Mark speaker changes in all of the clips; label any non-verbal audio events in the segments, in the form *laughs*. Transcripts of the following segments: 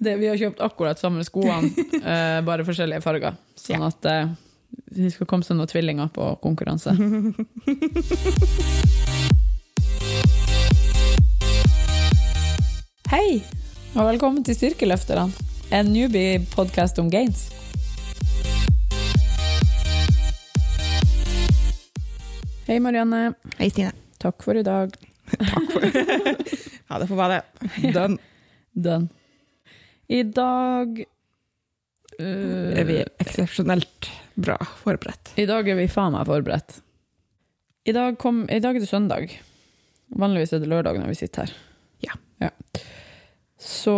Speaker 1: Det, vi har kjøpt akkurat samme
Speaker 2: *laughs*
Speaker 1: skoene, eh, bare forskjellige farger. Sånn at eh, vi skal komme som noen tvillinger på
Speaker 2: *laughs*
Speaker 1: konkurranse. Hei, og velkommen til Styrkeløfterne. En newbie-podkast om gains. Hei, Marianne.
Speaker 2: Hei, Stine.
Speaker 1: Takk for i dag.
Speaker 2: Takk for *laughs* Ja, det får være det. Done.
Speaker 1: Done. I dag øh,
Speaker 2: Er vi eksepsjonelt bra forberedt?
Speaker 1: I dag er vi faen meg forberedt. I dag, kom, I dag er det søndag. Vanligvis er det lørdag når vi sitter her.
Speaker 2: Ja.
Speaker 1: Så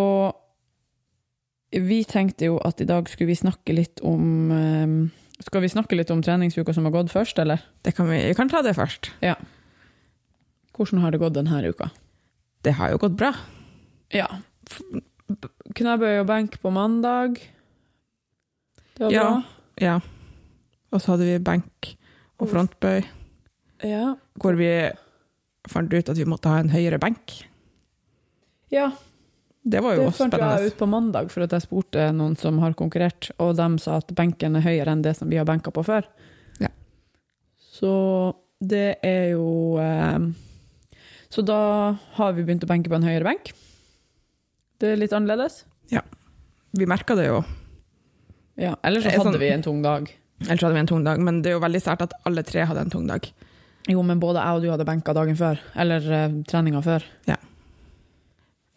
Speaker 1: vi tenkte jo at i dag skulle vi snakke litt om ehm, Skal vi snakke litt om treningsuka som har gått først, eller?
Speaker 2: Det kan vi, vi kan ta det først.
Speaker 1: Hvordan har det gått denne uka?
Speaker 2: Det har jo gått bra.
Speaker 1: Ja. Knebøy og benk på mandag. Det var
Speaker 2: Ja.
Speaker 1: bra.
Speaker 2: Ja. Og så hadde vi benk og frontbøy,
Speaker 1: Ja.
Speaker 2: hvor vi fant ut at vi måtte ha en høyere benk.
Speaker 1: ja.
Speaker 2: Det var jo
Speaker 1: det fant jeg
Speaker 2: spennende.
Speaker 1: ut på mandag, for at jeg spurte noen som har konkurrert, og de sa at benken er høyere enn det som vi har benka på før.
Speaker 2: Ja.
Speaker 1: Så det er jo eh, Så da har vi begynt å benke på en høyere benk. Det er litt annerledes.
Speaker 2: Vi merka det jo.
Speaker 1: Ja, Ellers så
Speaker 2: Det er
Speaker 1: hadde
Speaker 2: sånn-
Speaker 1: vi en tung dag.
Speaker 2: Ellers hadde vi en tung dag, men det er jo veldig sært at alle tre hadde en tung dag.
Speaker 1: Jo, men både jeg og du hadde benka dagen før. Eller eh, treninga før.
Speaker 2: Ja.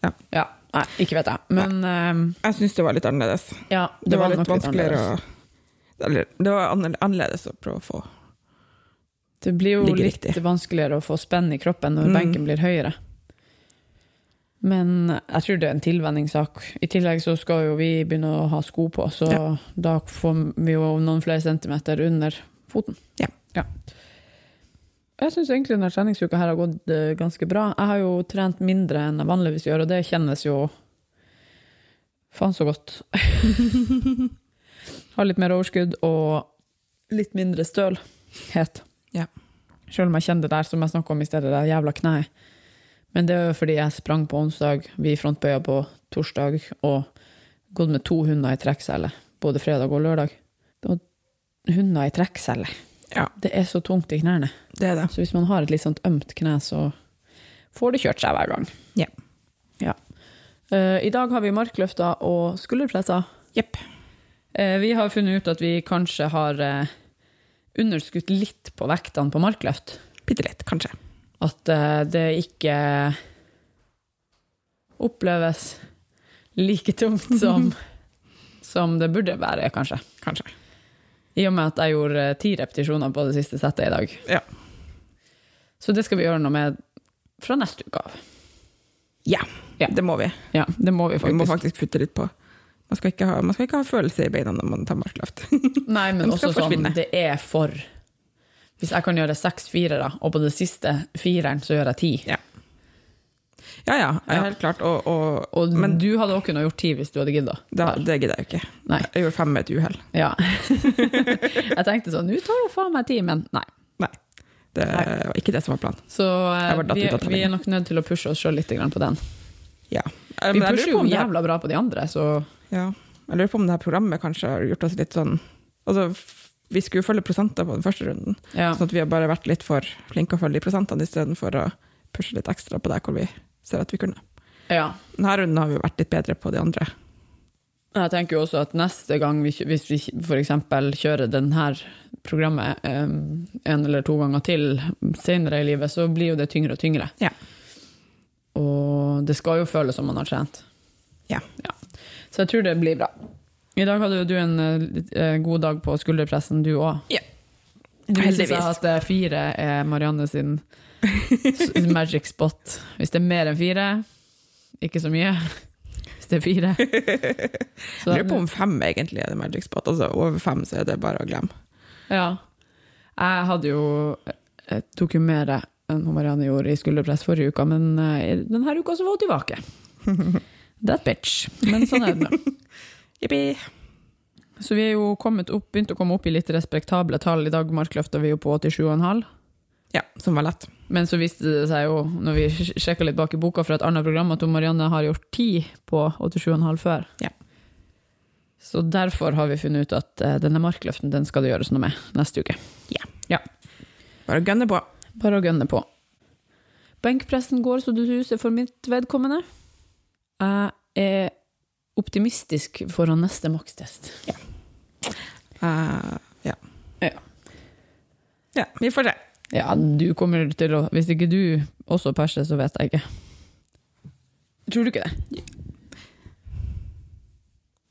Speaker 2: Ja.
Speaker 1: ja. Nei, ikke vet jeg. Men eh,
Speaker 2: Jeg syns det var litt annerledes.
Speaker 1: ja,
Speaker 2: Det, var, litt
Speaker 1: nok
Speaker 2: vanskeligere
Speaker 1: annerledes.
Speaker 2: å Eller det var anner- annerledes å prøve å få
Speaker 1: Det blir jo
Speaker 2: Ligger
Speaker 1: litt
Speaker 2: riktig.
Speaker 1: vanskeligere å få spenn i kroppen når
Speaker 2: Mm.
Speaker 1: benken blir høyere. Men jeg tror det er en tilvenningssak. I tillegg så skal jo vi begynne å ha sko på, så
Speaker 2: Ja.
Speaker 1: da får vi jo noen flere centimeter under foten.
Speaker 2: Ja.
Speaker 1: Jeg syns egentlig denne treningsuka her har gått eh, ganske bra. Jeg har jo trent mindre enn jeg vanligvis gjør, og det kjennes jo faen så godt.
Speaker 2: *laughs*
Speaker 1: har litt mer overskudd og litt mindre stølhet.
Speaker 2: Ja.
Speaker 1: Selv om jeg kjenner det der som jeg snakket om i stedet, det jævla kneet. Men det er jo fordi jeg sprang på onsdag, vi frontbøya på torsdag, og gått med to hunder i trekkcelle, både fredag og lørdag. Og hunder i trekkcelle,
Speaker 2: Ja,
Speaker 1: det er så tungt i knærne.
Speaker 2: det er det.
Speaker 1: Så hvis man har et litt sånt ømt kne, så får det kjørt seg hver gang.
Speaker 2: Ja.
Speaker 1: Ja. Eh, I dag har vi markløfter og skulderpresser.
Speaker 2: Jepp.
Speaker 1: Eh, Vi har funnet ut at vi kanskje har eh, underskutt litt på vektene på markløft.
Speaker 2: Bitte litt, kanskje.
Speaker 1: At eh, det ikke oppleves like tungt som,
Speaker 2: *laughs*
Speaker 1: som det burde være, kanskje.
Speaker 2: Kanskje.
Speaker 1: I og med at jeg gjorde eh, ti repetisjoner på det siste settet i dag.
Speaker 2: Ja.
Speaker 1: Så det skal vi gjøre noe med fra neste uke av.
Speaker 2: Ja,
Speaker 1: Ja.
Speaker 2: det må vi.
Speaker 1: Ja, det må vi
Speaker 2: Vi
Speaker 1: faktisk.
Speaker 2: må faktisk putte litt på. Man skal ikke ha, man skal ikke ha følelse i beina når man tar markløft. *laughs*
Speaker 1: Nei, men
Speaker 2: De
Speaker 1: også
Speaker 2: skal
Speaker 1: sånn,
Speaker 2: forsvinne.
Speaker 1: det er for Hvis jeg kan gjøre seks firere, og på det siste fireren så gjør jeg ti.
Speaker 2: ja, ja,
Speaker 1: Ja.
Speaker 2: ja, helt klart. Og, og
Speaker 1: Og
Speaker 2: Men-
Speaker 1: du hadde også kunnet gjort ti hvis du hadde gidda.
Speaker 2: da, det gidder jeg jo ikke.
Speaker 1: Nei.
Speaker 2: Jeg gjorde fem med et uhell.
Speaker 1: Ja. *laughs* jeg tenkte sånn, nå tar hun faen meg ti, men nei.
Speaker 2: Nei. Det
Speaker 1: Nei.
Speaker 2: var ikke det som var planen.
Speaker 1: Så eh,
Speaker 2: Jeg var datt
Speaker 1: vi,
Speaker 2: ut av
Speaker 1: vi er nok nødt til å pushe oss sjøl litt grann på den.
Speaker 2: Ja.
Speaker 1: Vi pusher jo jævla bra på de andre, så
Speaker 2: Ja. Jeg lurer på om det her programmet kanskje har gjort oss litt sånn Altså, f- vi skulle jo følge prosenter på den første runden,
Speaker 1: ja.
Speaker 2: sånn at vi har bare vært litt for flinke å følge de prosentene istedenfor å pushe litt ekstra på der hvor vi ser at vi kunne.
Speaker 1: ja.
Speaker 2: Denne runden har vi jo vært litt bedre på de andre.
Speaker 1: Jeg tenker jo også at neste gang, vi, kjø- hvis vi f.eks. kjører denne programmet eh, en eller to ganger til senere i livet, så blir jo det tyngre og tyngre.
Speaker 2: Ja.
Speaker 1: Og det skal jo føles som man har trent.
Speaker 2: Ja.
Speaker 1: Så jeg tror det blir bra. I dag hadde jo du en eh, litt, eh, god dag på skulderpressen, du òg.
Speaker 2: Ja.
Speaker 1: Det viser seg
Speaker 2: Heldigvis.
Speaker 1: at eh, fire er Marianne sin s- magic spot. Hvis det er mer enn fire, ikke så mye. *laughs* Hvis det er fire.
Speaker 2: *laughs*
Speaker 1: Så
Speaker 2: Jeg lurer på om fem egentlig er det magic spot. Altså over fem så er det bare å glemme.
Speaker 1: Ja. Jeg hadde jo Jeg tok jo mer enn hun Marianne gjorde i skulderpress forrige uka, men eh, i denne uka så var hun tilbake.
Speaker 2: *laughs*
Speaker 1: That bitch. Men sånn er det nå.
Speaker 2: Jippi!
Speaker 1: Så vi er jo kommet opp, begynt å komme opp i litt respektable tall. I dag markløfta vi jo på 87,5.
Speaker 2: Ja, som var lett.
Speaker 1: Men så viste det seg jo, når vi sjekka litt bak i boka fra et annet program, at hun Marianne har gjort 10 på 87,5 før.
Speaker 2: Ja.
Speaker 1: Så derfor har vi funnet ut at eh, denne markløften den skal det gjøres noe med neste uke.
Speaker 2: Bare gønne på.
Speaker 1: Bare å gønne på. Benkpressen går så du huser for mitt vedkommende. Jeg er optimistisk foran neste makstest.
Speaker 2: Eh, ja.
Speaker 1: Ja.
Speaker 2: Ja, vi får se.
Speaker 1: Ja, du kommer til å Hvis ikke du også perser, så vet jeg ikke. Tror du ikke det?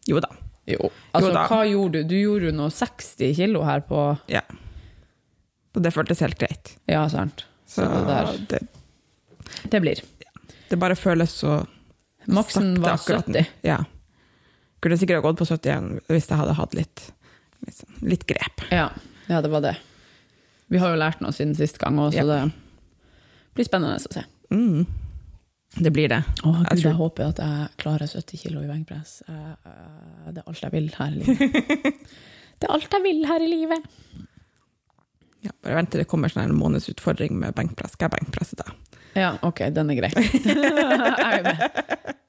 Speaker 2: Jo da.
Speaker 1: Jo. Altså,
Speaker 2: Jo da.
Speaker 1: hva gjorde du? Du gjorde jo noe 60 kilo her på
Speaker 2: Og det føltes helt greit.
Speaker 1: Ja, sant.
Speaker 2: Så
Speaker 1: Så det der.
Speaker 2: det,
Speaker 1: Det blir.
Speaker 2: det bare føles så
Speaker 1: Maksen
Speaker 2: Sakte
Speaker 1: var
Speaker 2: akkurat
Speaker 1: 70.
Speaker 2: Ja. Kunne sikkert ha gått på 71 hvis jeg hadde hatt litt, litt, sånn- litt grep.
Speaker 1: Ja. ja, det var det. Vi har jo lært noe siden sist gang òg, så det blir spennende å se.
Speaker 2: Mm. Det blir det.
Speaker 1: Å, Gud,
Speaker 2: Jeg
Speaker 1: jeg,
Speaker 2: tror-
Speaker 1: håper at jeg klarer 70 kilo i benkpress. Jeg- jeg- Det er alt jeg vil her i livet. *laughs* Det er alt jeg vil her i livet.
Speaker 2: Ja, bare vent til det kommer sånn en månedsutfordring med benkpress. Skal jeg benkpresse deg?
Speaker 1: Ja, ok, den er grei. jeg er med.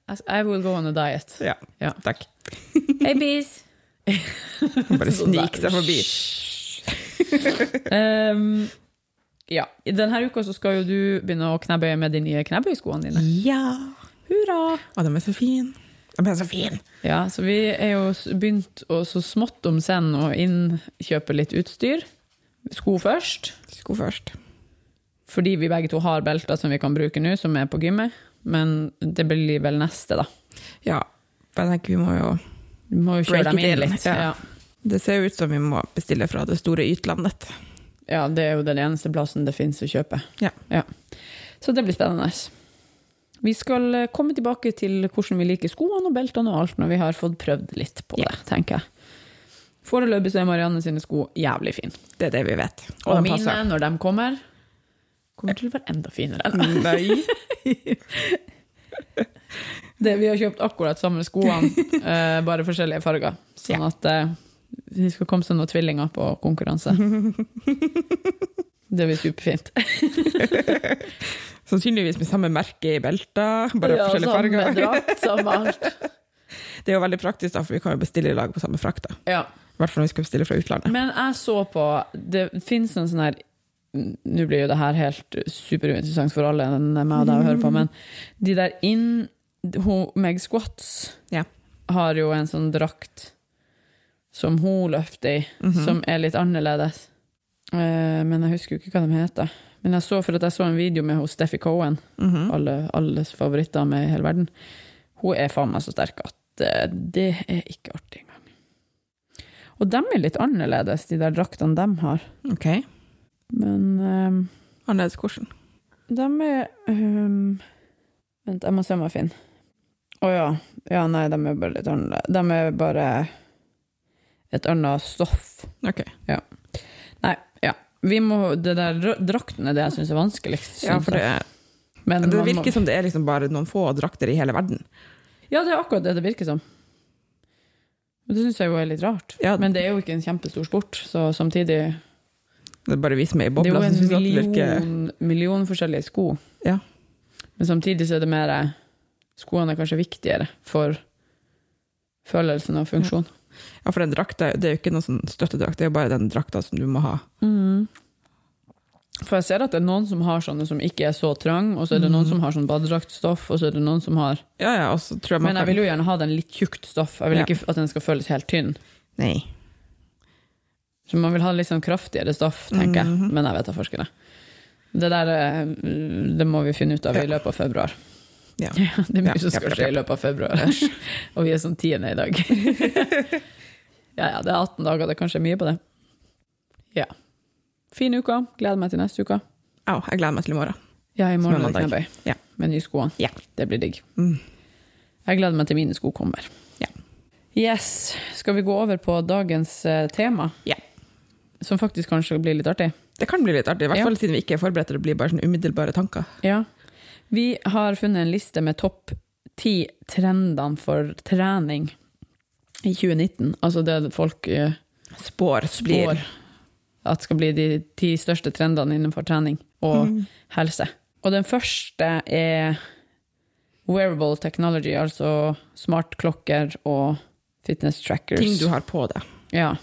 Speaker 1: Altså, I will go on a diet.
Speaker 2: Ja.
Speaker 1: Ja.
Speaker 2: Takk.
Speaker 1: Hey, *laughs* bees!
Speaker 2: Bare
Speaker 1: Sånn der.
Speaker 2: snik deg forbi.
Speaker 1: Um, ja, i denne uka så skal jo du begynne å knebøye med de nye knebøyskoene dine.
Speaker 2: Ja.
Speaker 1: Hurra!
Speaker 2: Å, de er så fine. De er så fine.
Speaker 1: Ja, så vi er jo s- begynt å så smått om senn å innkjøpe litt utstyr. Sko først,
Speaker 2: Sko først.
Speaker 1: fordi vi begge to har belter som vi kan bruke nå, som er på gymmet. Men det blir vel neste, da.
Speaker 2: Ja. Men jeg tenker vi må jo
Speaker 1: Vi må jo kjøre
Speaker 2: Break
Speaker 1: dem
Speaker 2: it
Speaker 1: inn
Speaker 2: in,
Speaker 1: litt.
Speaker 2: ja.
Speaker 1: Ja.
Speaker 2: Det ser jo ut som vi må bestille fra det store utlandet.
Speaker 1: ja, det er jo den eneste plassen det fins å kjøpe.
Speaker 2: Ja.
Speaker 1: Så det blir spennende. Vi skal eh, komme tilbake til hvordan vi liker skoene og beltene og alt når vi har fått prøvd litt på
Speaker 2: Ja.
Speaker 1: det, tenker jeg. Foreløpig så er Marianne sine sko jævlig fine.
Speaker 2: Det er det vi vet.
Speaker 1: Og,
Speaker 2: de
Speaker 1: mine,
Speaker 2: passer.
Speaker 1: når de kommer, kommer til å være enda finere.
Speaker 2: *laughs* Nei.
Speaker 1: Det, vi har kjøpt akkurat samme skoene, *laughs* eh, bare forskjellige farger. Sånn at eh, vi skal komme som noen tvillinger på konkurranse. *laughs* Det blir superfint.
Speaker 2: Sannsynligvis med samme merke i belta, bare forskjellige farger.
Speaker 1: Samme drakt, samme alt.
Speaker 2: Det er jo veldig praktisk, da, for vi kan jo bestille i lag på samme frakt. da.
Speaker 1: Ja.
Speaker 2: I hvert fall når vi skal bestille fra utlandet.
Speaker 1: Men jeg så på Det fins en sånn her Nå blir jo det her helt superinteressant for alle enn meg og deg å høre på, men de der inn hun, Meg Squats
Speaker 2: Ja.
Speaker 1: har jo en sånn drakt som hun løfter i,
Speaker 2: Mhm.
Speaker 1: som er litt annerledes. Eh, men jeg husker jo ikke hva de heter. Men jeg så for at jeg så en video med hos Steffi Cohen,
Speaker 2: Mhm. Mm.
Speaker 1: alle, alles favoritter med i hele verden. Hun er faen meg så sterk at eh, det er ikke artig engang. Og dem er litt annerledes, de der draktene dem har.
Speaker 2: Ok.
Speaker 1: Men ehm,
Speaker 2: Annerledes hvordan?
Speaker 1: dem er ehm, Vent, jeg må se om jeg finner. Å ja. Ja, nei, dem er bare litt annerledes. Dem er bare et annet stoff.
Speaker 2: Ok.
Speaker 1: Nei, ja. Vi må, det der dra- drakten er det jeg syns er vanskeligst.
Speaker 2: Ja,
Speaker 1: synes
Speaker 2: for det,
Speaker 1: jeg. Men
Speaker 2: det
Speaker 1: man må-
Speaker 2: virker som det er liksom bare noen få drakter i hele verden.
Speaker 1: Ja, det er akkurat det det virker som. Men Det syns jeg jo er litt rart.
Speaker 2: Ja.
Speaker 1: Men det er jo ikke en kjempestor sport, så samtidig
Speaker 2: Det er bare vi som er i
Speaker 1: Det er
Speaker 2: bobla. som synes
Speaker 1: jo
Speaker 2: at
Speaker 1: en
Speaker 2: det virker...
Speaker 1: million, million forskjellige sko.
Speaker 2: Ja.
Speaker 1: Men samtidig så er det mer eh, Skoene er kanskje viktigere for følelsen av funksjon.
Speaker 2: ja, for den drakta, det er jo ikke noen sånn støttedrakt, det er jo bare den drakta som du må ha. Mm.
Speaker 1: For jeg ser at det er noen som har sånne som ikke er så trang, og så er det
Speaker 2: Mm.
Speaker 1: noen som har sånn badedraktstoff, og så er det noen som har
Speaker 2: Ja, ja, og så tror jeg man
Speaker 1: Men jeg vil jo gjerne ha den litt tjukt stoff. Jeg vil
Speaker 2: Ja.
Speaker 1: ikke f- at den skal føles helt tynn.
Speaker 2: Nei.
Speaker 1: Så man vil ha litt sånn kraftigere stoff, tenker
Speaker 2: Mhm.
Speaker 1: jeg. Men jeg vet da forskere. Det der eh, det må vi finne ut av i
Speaker 2: Ja.
Speaker 1: løpet av februar.
Speaker 2: Ja.
Speaker 1: Ja, *laughs* det er mye
Speaker 2: Ja,
Speaker 1: som
Speaker 2: ja,
Speaker 1: skal
Speaker 2: ja,
Speaker 1: skje
Speaker 2: ja.
Speaker 1: i løpet av
Speaker 2: *laughs*
Speaker 1: februar. Og vi er sånn tiende i dag. ja, ja, det er 18 dager, det er kanskje mye på det. Ja. Fin uke. Gleder meg til neste uke.
Speaker 2: Au, jeg gleder meg til i morgen.
Speaker 1: Ja, i morgen er
Speaker 2: Som er
Speaker 1: det knebøy.
Speaker 2: Ja.
Speaker 1: Med nye skoene.
Speaker 2: Ja.
Speaker 1: Det blir digg.
Speaker 2: Mm.
Speaker 1: Jeg gleder meg til mine sko kommer.
Speaker 2: Ja.
Speaker 1: Yes. Skal vi gå over på dagens eh, tema?
Speaker 2: Ja.
Speaker 1: Som faktisk kanskje blir litt artig.
Speaker 2: Det kan bli litt artig, i hvert
Speaker 1: Ja.
Speaker 2: fall siden vi ikke er forberedt. Det blir bare sånn umiddelbare tanker.
Speaker 1: Ja. Vi har funnet en liste med topp ti trendene for trening i 2019. Altså det folk eh,
Speaker 2: Spår, splir.
Speaker 1: spår at skal bli de ti største trendene innenfor trening og
Speaker 2: Mhm.
Speaker 1: helse. Og den første er wearable technology, altså smartklokker og fitness trackers.
Speaker 2: Ting du har på deg.
Speaker 1: Ja.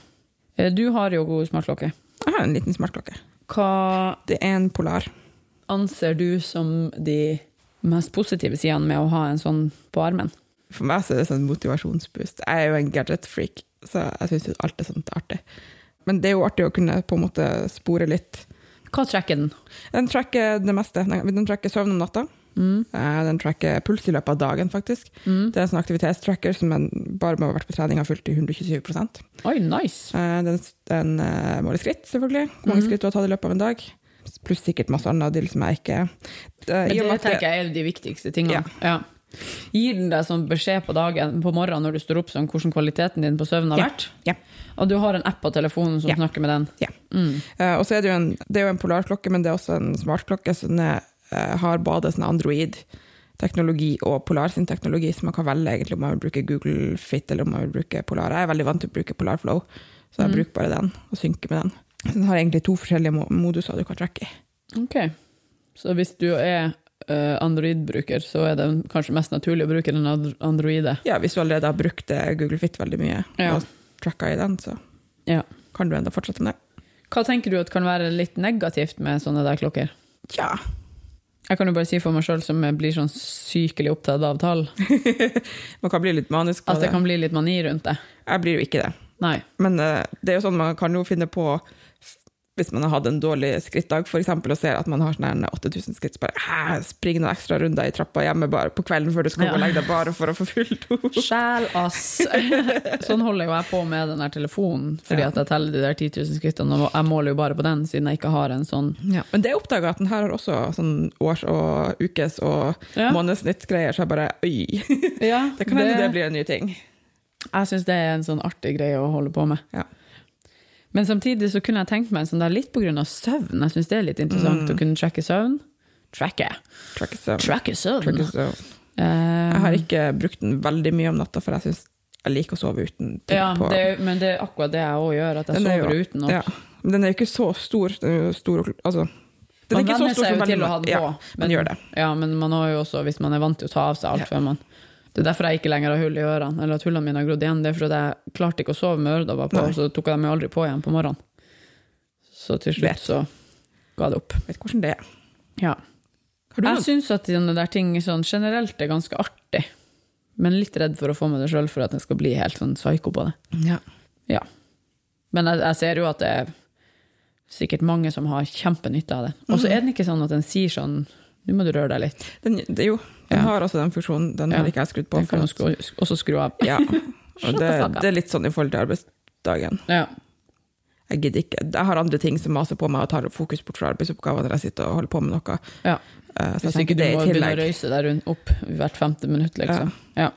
Speaker 1: Eh, Du har jo god smartklokke.
Speaker 2: Jeg har en liten smartklokke.
Speaker 1: Hva
Speaker 2: Det er en Polar.
Speaker 1: anser du som de mest positive sidene med å ha en sånn på armen?
Speaker 2: For meg så er det sånn motivasjonsboost. Jeg er jo en gadget-freak, så jeg syns alt er sånt er artig. Men det er jo artig å kunne på en måte spore litt.
Speaker 1: Hva trekker den?
Speaker 2: Den tracker det meste. Den den tracker søvn om natta.
Speaker 1: Mm.
Speaker 2: Eh, Den tracker puls i løpet av dagen, faktisk. Det er en sånn aktivitetstracker som en bare med å ha vært på trening har fulgt i 127 Eh,
Speaker 1: Oi, nice!
Speaker 2: Den, den eh, måler skritt, selvfølgelig. Hvor
Speaker 1: Mhm.
Speaker 2: mange skritt du har tatt i løpet av en dag. Pluss sikkert masse annet dill som jeg ikke Eh,
Speaker 1: Men
Speaker 2: i og med
Speaker 1: det tenker
Speaker 2: at
Speaker 1: jeg er de viktigste tingene. Ja. Gir den deg sånn beskjed på dagen på morgenen når du står opp, sånn hvordan kvaliteten din på søvnen har
Speaker 2: Ja.
Speaker 1: vært?
Speaker 2: Ja.
Speaker 1: Og du har en app på telefonen som
Speaker 2: Ja.
Speaker 1: snakker med den? Mm.
Speaker 2: Ja. Eh, og så er det, jo en, det er jo en polarklokke, men det er også en smartklokke som er, eh, har både sånn Android-teknologi og Polar sin teknologi, så man kan velge egentlig om man vil bruke Google Fit eller om man vil bruke Polar. Jeg er veldig vant til å bruke Polar Flow, så jeg
Speaker 1: Mhm.
Speaker 2: bruker bare den og synker med den. Så den har egentlig to forskjellige mo- moduser du kan trekke i.
Speaker 1: Ok. Så hvis du er eh, Android-bruker, så er det kanskje mest naturlig å bruke den ad- Androide?
Speaker 2: Ja, hvis du allerede har brukt eh, Google Fit veldig mye
Speaker 1: Ja.
Speaker 2: og tracka i den, så
Speaker 1: Ja.
Speaker 2: kan du enda fortsette med det.
Speaker 1: Hva tenker du at kan være litt negativt med sånne der klokker?
Speaker 2: Tja,
Speaker 1: Jeg kan jo bare si for meg sjøl, som blir sånn sykelig opptatt av tall,
Speaker 2: man kan bli litt manisk på
Speaker 1: at det
Speaker 2: det.
Speaker 1: kan bli litt mani rundt det.
Speaker 2: Jeg blir jo ikke det.
Speaker 1: Nei.
Speaker 2: Men eh, det er jo sånn man kan jo finne på hvis man har hatt en dårlig skrittdag for eksempel, og ser at man har sånn her 8000 skritt, så bare «Æ, spring noen ekstra runder i trappa hjemme bare på kvelden før du skal gå og legge deg, bare for å få fullt
Speaker 1: *laughs*
Speaker 2: opp.
Speaker 1: Sjæl,
Speaker 2: *laughs*
Speaker 1: ass! Sånn holder jo jeg på med den der telefonen, fordi
Speaker 2: Ja.
Speaker 1: at jeg teller de der 10 000 skrittene, og jeg måler jo bare på den, siden jeg ikke har en sånn
Speaker 2: Men det oppdaga jeg at den her har også sånn års- og ukes- og
Speaker 1: Ja.
Speaker 2: månedssnittgreier, så jeg bare øy. *laughs* Det kan hende det blir en ny ting.
Speaker 1: Jeg syns det er en sånn artig greie å holde på med.
Speaker 2: Ja.
Speaker 1: Men samtidig så kunne jeg tenkt meg en sånn der litt på grunn av søvn. Jeg syns det er litt interessant å
Speaker 2: Mm.
Speaker 1: kunne tracke søvn. Tracke.
Speaker 2: Track is so.
Speaker 1: Tracke søvn.
Speaker 2: Track is so.
Speaker 1: Eh,
Speaker 2: Jeg har ikke brukt den veldig mye om natta, for jeg syns jeg liker å sove uten ting
Speaker 1: ja,
Speaker 2: på.
Speaker 1: det, men det er akkurat det jeg òg gjør, at jeg
Speaker 2: Den er
Speaker 1: sover
Speaker 2: jo-
Speaker 1: uten. Og,
Speaker 2: Ja. Men den er jo ikke så stor. Den er jo stor og- altså, den
Speaker 1: Man
Speaker 2: er ikke så
Speaker 1: venner
Speaker 2: stor
Speaker 1: seg
Speaker 2: som
Speaker 1: jo
Speaker 2: veldig
Speaker 1: til å
Speaker 2: mange-
Speaker 1: ha den på.
Speaker 2: ja, man gjør det.
Speaker 1: Ja, men man har jo også, hvis man er vant til å ta av seg alt før man Det er derfor jeg ikke lenger har hull i ørene, eller at hullene mine har grodd igjen. Det er fordi jeg klarte ikke å sove med øredobber på,
Speaker 2: Nei.
Speaker 1: og så tok jeg dem jo aldri på igjen på morgenen. Så til slutt
Speaker 2: Vet.
Speaker 1: så ga det opp.
Speaker 2: Jeg vet hvordan det er.
Speaker 1: Ja.
Speaker 2: Har du
Speaker 1: Jeg
Speaker 2: noen?
Speaker 1: syns at sånne der ting sånn, generelt er ganske artig, men litt redd for å få med det sjøl for at jeg skal bli helt sånn psyko på det.
Speaker 2: Ja.
Speaker 1: Ja. Men jeg, jeg ser jo at det er sikkert mange som har kjempenytte av det. Og så er den ikke sånn at den sier sånn Nå må du røre deg litt.
Speaker 2: Den, det, jo, den
Speaker 1: Ja.
Speaker 2: har også den funksjonen. Den har
Speaker 1: Ja.
Speaker 2: ikke jeg skrudd på.
Speaker 1: Den kan
Speaker 2: for
Speaker 1: du
Speaker 2: at-
Speaker 1: skru, sk- også skru av. *laughs*
Speaker 2: ja.
Speaker 1: Shut
Speaker 2: Og
Speaker 1: the fuck up.
Speaker 2: det, det er litt sånn i forhold til arbeidsdagen.
Speaker 1: Ja.
Speaker 2: Jeg gidder ikke. Jeg har andre ting som maser på meg og tar fokus bort fra arbeidsoppgaver når jeg sitter og holder på med noe.
Speaker 1: ja.
Speaker 2: Eh,
Speaker 1: Hvis
Speaker 2: Så jeg tenker
Speaker 1: ikke du
Speaker 2: det
Speaker 1: må
Speaker 2: i
Speaker 1: begynne å
Speaker 2: tillegg.
Speaker 1: røyse deg rundt opp hvert femte minutt, liksom. Ja.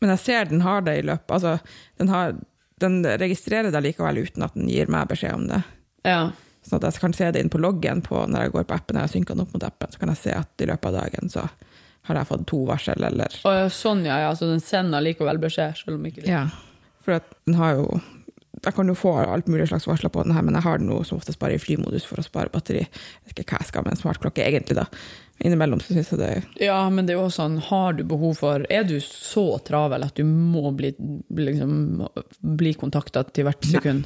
Speaker 2: Men jeg ser den har det i løpet. Altså, den, har, den registrerer det likevel uten at den gir meg beskjed om det.
Speaker 1: ja.
Speaker 2: Sånn at jeg kan se det inn på loggen på når jeg går på appen, når jeg synker den opp mot appen, så kan jeg se at i løpet av dagen så har jeg fått to varsel, eller
Speaker 1: Og sånn, ja, ja. Så den sender likevel beskjed, selv om ikke
Speaker 2: Ja. For at den har jo Jeg kan jo få alt mulig slags varsler på den her, men jeg har den jo som oftest bare i flymodus for å spare batteri. Jeg vet ikke hva jeg skal med en smartklokke, egentlig, da. Innimellom så syns jeg det
Speaker 1: Ja, men det er jo også sånn, har du behov for Er du så travel at du må bli, bli liksom, bli kontakta til hvert sekund?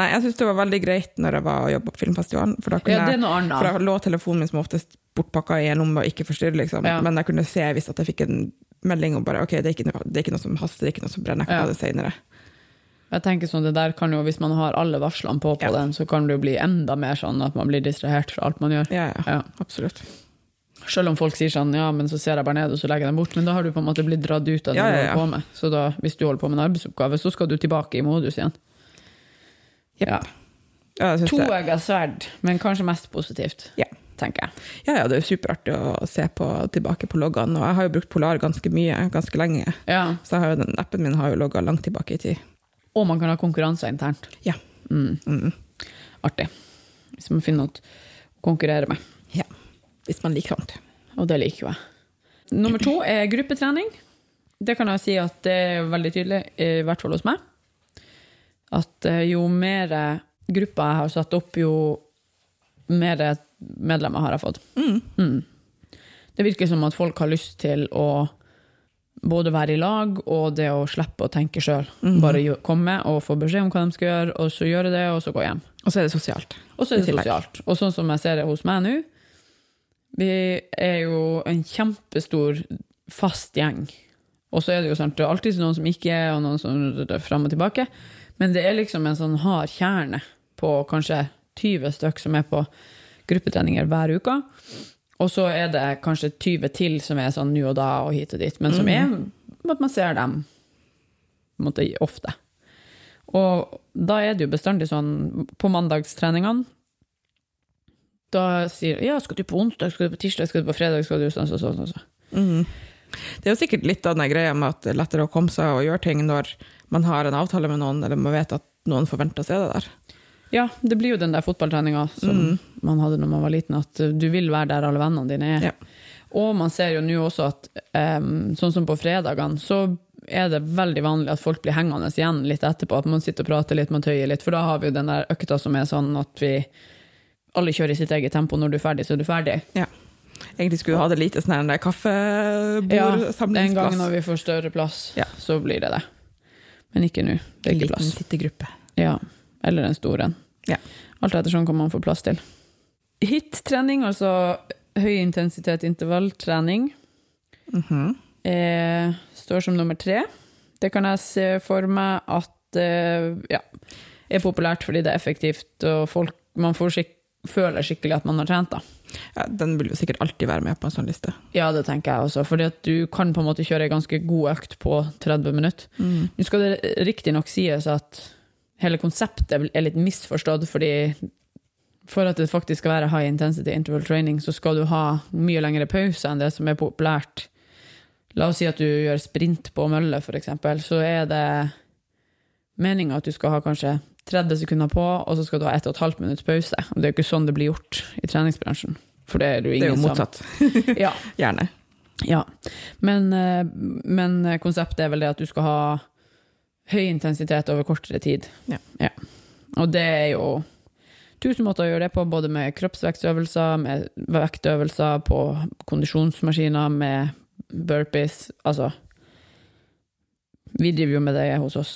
Speaker 2: Nei, jeg syns det var veldig greit når jeg var og jobba på filmfestivalen, for da kunne
Speaker 1: Ja, det er
Speaker 2: jeg
Speaker 1: noe annet.
Speaker 2: For da lå telefonen min som oftest bortpakka i en lomme og ikke forstyrre, liksom.
Speaker 1: Ja.
Speaker 2: Men jeg kunne se hvis at jeg fikk en melding om bare OK, det er ikke noe, det er ikke noe som haster, det er ikke noe som brenner, jeg kan
Speaker 1: Ja.
Speaker 2: ta det seinere.
Speaker 1: Jeg tenker sånn, det der kan jo, Hvis man har alle varslene på på
Speaker 2: Ja.
Speaker 1: den, så kan det jo bli enda mer sånn at man blir distrahert fra alt man gjør.
Speaker 2: Ja, ja,
Speaker 1: Ja.
Speaker 2: absolutt.
Speaker 1: Selv om folk sier sånn ja, men så ser jeg bare ned og så legger jeg den bort, men da har du på en måte blitt dratt ut av det
Speaker 2: Ja,
Speaker 1: du
Speaker 2: ja,
Speaker 1: holder
Speaker 2: ja.
Speaker 1: på med. Så da, hvis du holder på med en arbeidsoppgave, så skal du tilbake i modus igjen.
Speaker 2: Jepp.
Speaker 1: Ja.
Speaker 2: Ja, jeg synes det,
Speaker 1: Toegga sverd, men kanskje mest positivt,
Speaker 2: Ja.
Speaker 1: tenker jeg.
Speaker 2: ja, ja, det er jo superartig å se på, tilbake på loggene, og jeg har jo brukt Polar ganske mye, ganske lenge.
Speaker 1: Ja.
Speaker 2: Så jeg har jo, den appen min har jo logga langt tilbake i tid.
Speaker 1: Og man kan ha konkurranser internt.
Speaker 2: Ja.
Speaker 1: Mm.
Speaker 2: Mm.
Speaker 1: Artig. Hvis man finner noe å konkurrere med.
Speaker 2: ja. Hvis man liker sånt.
Speaker 1: Og det liker jo jeg. Nummer to er gruppetrening. Det kan jeg si at det er veldig tydelig, i hvert fall hos meg. At eh, jo mer gruppa jeg har satt opp, jo mer medlemmer har jeg fått. Mm. Det virker som at folk har lyst til å både være i lag og det å slippe å tenke sjøl. Bare jo- komme og få beskjed om hva de skal gjøre, og så gjøre det, og så gå hjem.
Speaker 2: Og så er det sosialt.
Speaker 1: Og så er det
Speaker 2: Utlegg.
Speaker 1: sosialt. Og sånn som jeg ser det hos meg nå, vi er jo en kjempestor fast gjeng. Og så er det jo sant, det er alltid noen som ikke er, og noen som er fram og tilbake. Men det er liksom en sånn hard kjerne på kanskje 20 stykk som er på gruppetreninger hver uke. Og så er det kanskje 20 til som er sånn nå og da og hit og dit, men som er at man ser dem på en måte, ofte. Og da er det jo bestandig sånn på mandagstreningene Da sier ja, skal du på onsdag, skal du på tirsdag, skal du på fredag, skal du sånn, sånn, sånn. sånn.
Speaker 2: Mm. Det er jo sikkert litt av den greia med at det er lettere å komme seg og gjøre ting når man har en avtale med noen, eller man vet at noen forventer å se deg der.
Speaker 1: Ja, det blir jo den der fotballtreninga som
Speaker 2: Mm.
Speaker 1: man hadde når man var liten, at uh, du vil være der alle vennene dine er.
Speaker 2: Ja.
Speaker 1: Og man ser jo nå også at em, sånn som på fredagene, så er det veldig vanlig at folk blir hengende igjen litt etterpå. At man sitter og prater litt, man tøyer litt. For da har vi jo den der økta som er sånn at vi alle kjører i sitt eget tempo. Når du er ferdig, så er du ferdig.
Speaker 2: Ja. Egentlig skulle du ha det lite sånn her, en der
Speaker 1: den
Speaker 2: kaffebordsamlingsplass.
Speaker 1: gangen når vi får større plass,
Speaker 2: Ja.
Speaker 1: så blir det det. Men ikke nå. Det er ikke plass.
Speaker 2: sittegruppe.
Speaker 1: Ja. Eller en stor en.
Speaker 2: Ja.
Speaker 1: Alt ettersom hva man får plass til. HIT-trening, altså høy intensitet intervalltrening,
Speaker 2: Mhm.
Speaker 1: eh, står som nummer tre. Det kan jeg se for meg at eh, ja, er populært fordi det er effektivt, og folk, man får skik føler skikkelig at man har trent. da.
Speaker 2: Ja, den vil jo sikkert alltid være med på en sånn liste.
Speaker 1: Ja, det tenker jeg også. Fordi at du kan på en måte kjøre en ganske god økt på 30 minutter.
Speaker 2: Mm.
Speaker 1: Nå skal det riktignok sies at hele konseptet er litt misforstått, fordi for at det faktisk skal være high intensity interval training, så skal du ha mye lengre pause enn det som er populært. La oss si at du gjør sprint på mølle, for eksempel, så er det meninga at du skal ha kanskje 30 sekunder på, og så skal du ha 1 12 minutts pause. Og det er jo ikke sånn det blir gjort i treningsbransjen. For det er det jo
Speaker 2: Det er
Speaker 1: ingen
Speaker 2: jo
Speaker 1: som-
Speaker 2: motsatt.
Speaker 1: Ja.
Speaker 2: Gjerne.
Speaker 1: Ja, men, eh, men konseptet er vel det at du skal ha høy intensitet over kortere tid.
Speaker 2: Ja.
Speaker 1: Og det er jo tusen måter å gjøre det på, både med kroppsvektsøvelser, med vektøvelser, på kondisjonsmaskiner, med burpees, altså Vi driver jo med det hos oss,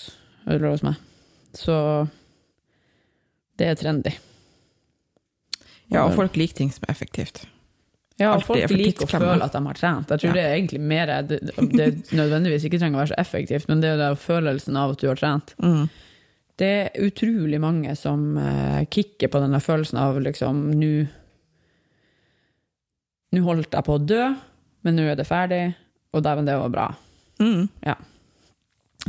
Speaker 1: eller hos meg. Så det er trendy.
Speaker 2: Ja, og folk liker ting som er effektivt.
Speaker 1: Ja, og
Speaker 2: Alltid
Speaker 1: folk
Speaker 2: er for
Speaker 1: liker å
Speaker 2: tidsklemma.
Speaker 1: føle at de har trent. Jeg tror
Speaker 2: Ja.
Speaker 1: det er egentlig mer det, det nødvendigvis ikke trenger å være så effektivt, men det er jo den følelsen av at du har trent. Det er utrolig mange som eh, kicker på denne følelsen av liksom nå Nå holdt jeg på å dø, men nå er det ferdig, og dæven, det var bra.
Speaker 2: Mm.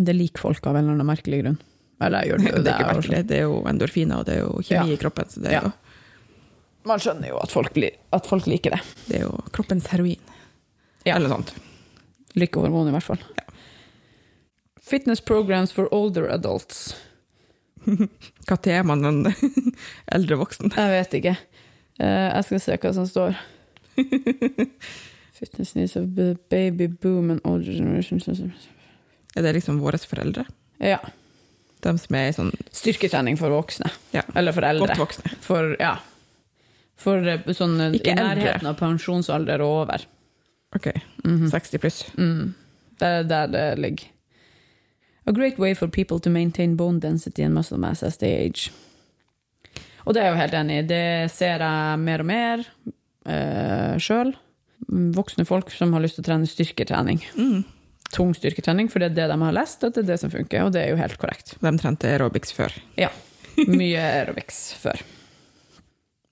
Speaker 1: Det liker folk av en eller annen merkelig grunn. Eller *laughs* jeg gjør det jo sånn.
Speaker 2: Det er
Speaker 1: det.
Speaker 2: ikke
Speaker 1: også.
Speaker 2: merkelig. Det er jo endorfiner, og det er jo kjemi
Speaker 1: Ja.
Speaker 2: i kroppen, så det er,
Speaker 1: Ja.
Speaker 2: jo,
Speaker 1: Man skjønner jo at folk, li- at folk liker det.
Speaker 2: det er jo kroppens heroin.
Speaker 1: Ja.
Speaker 2: Eller sånt.
Speaker 1: Lykkehormon, i hvert fall. Fitness programs for older adults.
Speaker 2: Når er man en *laughs* eldre voksen?
Speaker 1: Jeg vet ikke. Eh, jeg skal se hva som
Speaker 2: *laughs*
Speaker 1: står. Fitness needs of the baby boom and older generations.
Speaker 2: Er det liksom våre foreldre?
Speaker 1: Ja.
Speaker 2: De som er i sånn
Speaker 1: Styrketrening for voksne.
Speaker 2: Ja.
Speaker 1: Eller for eldre.
Speaker 2: godt voksne.
Speaker 1: For, ja. for eh, sånn eh,
Speaker 2: Ikke
Speaker 1: i
Speaker 2: eldre.
Speaker 1: nærheten av pensjonsalder og over. Mhm.
Speaker 2: Ok, 60 pluss.
Speaker 1: Mm. Det er der det ligger. A great way for people to maintain bone density and muscle mass as they age. Og det er jeg jo helt enig i. Det ser jeg mer og mer uh, sjøl. Voksne folk som har lyst til å trene styrketrening. Tung styrketrening, for det er det de har lest, at det er det som funker. Og det er jo helt korrekt.
Speaker 2: De trente aerobics før.
Speaker 1: Ja. *laughs* Mye aerobics før.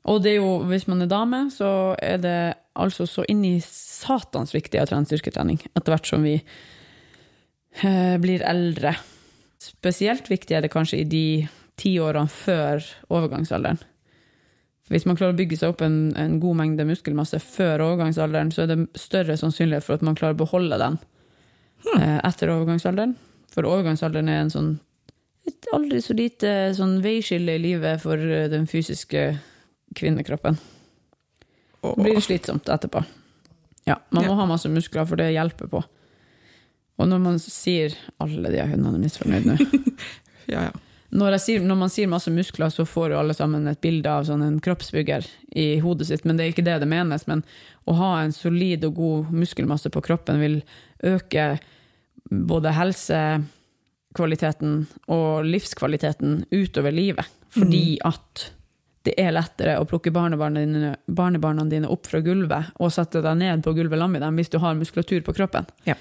Speaker 1: Og det er jo, hvis man er dame, så er det altså så inn i satans viktig å trene styrketrening etter hvert som vi eh, blir eldre. Spesielt viktig er det kanskje i de ti årene før overgangsalderen. For Hvis man klarer å bygge seg opp en, en god mengde muskelmasse før overgangsalderen, så er det større sannsynlighet for at man klarer å beholde den eh, etter overgangsalderen. For overgangsalderen er en sånn et aldri så lite sånn veiskille i livet for eh, den fysiske kvinnekroppen.
Speaker 2: Og,
Speaker 1: Det blir slitsomt etterpå. Ja, man må
Speaker 2: Ja.
Speaker 1: ha masse muskler, for det hjelper på. Og når man sier alle de hundene er misfornøyd nå
Speaker 2: ja, ja.
Speaker 1: Når, jeg sier, når man sier masse muskler, så får jo alle sammen et bilde av sånn en kroppsbygger i hodet sitt, men det er ikke det det menes. Men å ha en solid og god muskelmasse på kroppen vil øke både helsekvaliteten og livskvaliteten utover livet, fordi at det er lettere å plukke barnebarna dine, barnebarna dine opp fra gulvet og sette deg ned på gulvet sammen med dem hvis du har muskulatur på kroppen.
Speaker 2: Ja.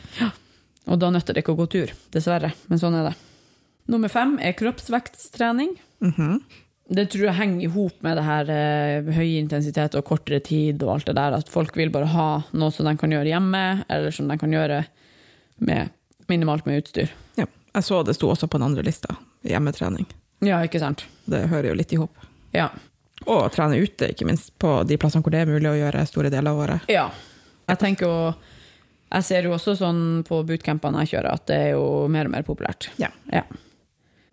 Speaker 1: Og da nøtter det ikke å gå tur, dessverre. Men sånn er det. Nummer fem er kroppsvektstrening.
Speaker 2: Mhm.
Speaker 1: Det tror jeg henger i hop med det her eh, høy intensitet og kortere tid og alt det der, at folk vil bare ha noe som de kan gjøre hjemme, eller som de kan gjøre med minimalt med utstyr.
Speaker 2: Ja. Jeg så det sto også på den andre lista, hjemmetrening.
Speaker 1: Ja, ikke sant?
Speaker 2: Det hører jo litt i hop.
Speaker 1: Ja.
Speaker 2: Og trene ute, ikke minst, på de plassene hvor det er mulig å gjøre store deler av året.
Speaker 1: Ja. Jeg tenker jo Jeg ser jo også sånn på bootcampene jeg kjører, at det er jo mer og mer populært.
Speaker 2: Ja.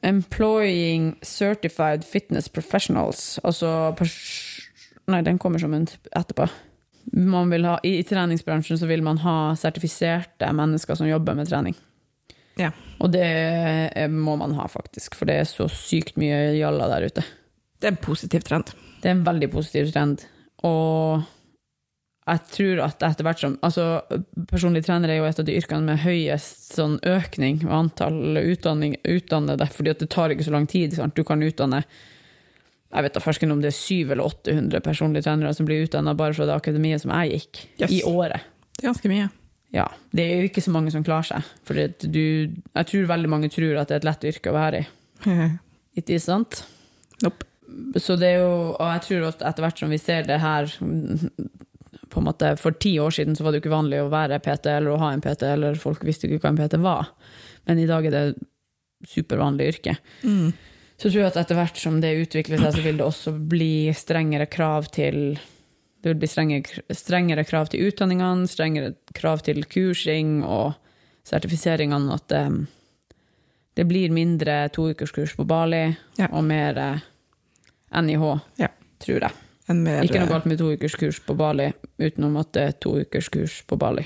Speaker 1: Employing certified fitness professionals. Altså pers Nei, den kommer som en t- etterpå. Man vil ha, i, I treningsbransjen så vil man ha sertifiserte mennesker som jobber med trening.
Speaker 2: Ja.
Speaker 1: Og det eh, må man ha, faktisk, for det er så sykt mye jalla der ute.
Speaker 2: Det er en positiv trend.
Speaker 1: Det er en veldig positiv trend. Og jeg tror at etter hvert som Altså, personlig trener er jo et av de yrkene med høyest sånn økning og antall utdanning, utdannede, fordi at det tar ikke så lang tid. Sant? Du kan utdanne jeg vet da fersken om det er 700 eller 800 personlige trenere som blir utdanna bare fra det akademiet som jeg gikk,
Speaker 2: Yes.
Speaker 1: i året.
Speaker 2: Det er ganske *laughs* mye.
Speaker 1: Ja, Det er jo ikke så mange som klarer seg. For det, du, jeg tror veldig mange tror at det er et lett yrke å være i.
Speaker 2: Mm.
Speaker 1: Ikke sant?
Speaker 2: nope.
Speaker 1: Så det er jo, og jeg tror at etter hvert som vi ser det her mm, på en måte, For ti år siden så var det jo ikke vanlig å være PT eller å ha en PT, eller folk visste ikke hva en PT var. Men i dag er det supervanlig yrke. Så tror jeg at etter hvert som det utvikler seg, så vil det også bli strengere krav til det vil bli strengere, strengere krav til utdanningene, strengere krav til kursing og sertifiseringene. At det, det blir mindre toukerskurs på Bali
Speaker 2: Ja.
Speaker 1: og mer eh, NIH,
Speaker 2: Ja.
Speaker 1: tror jeg.
Speaker 2: En mer,
Speaker 1: Ikke noe galt med toukerskurs på Bali, utenom at det er toukerskurs på Bali.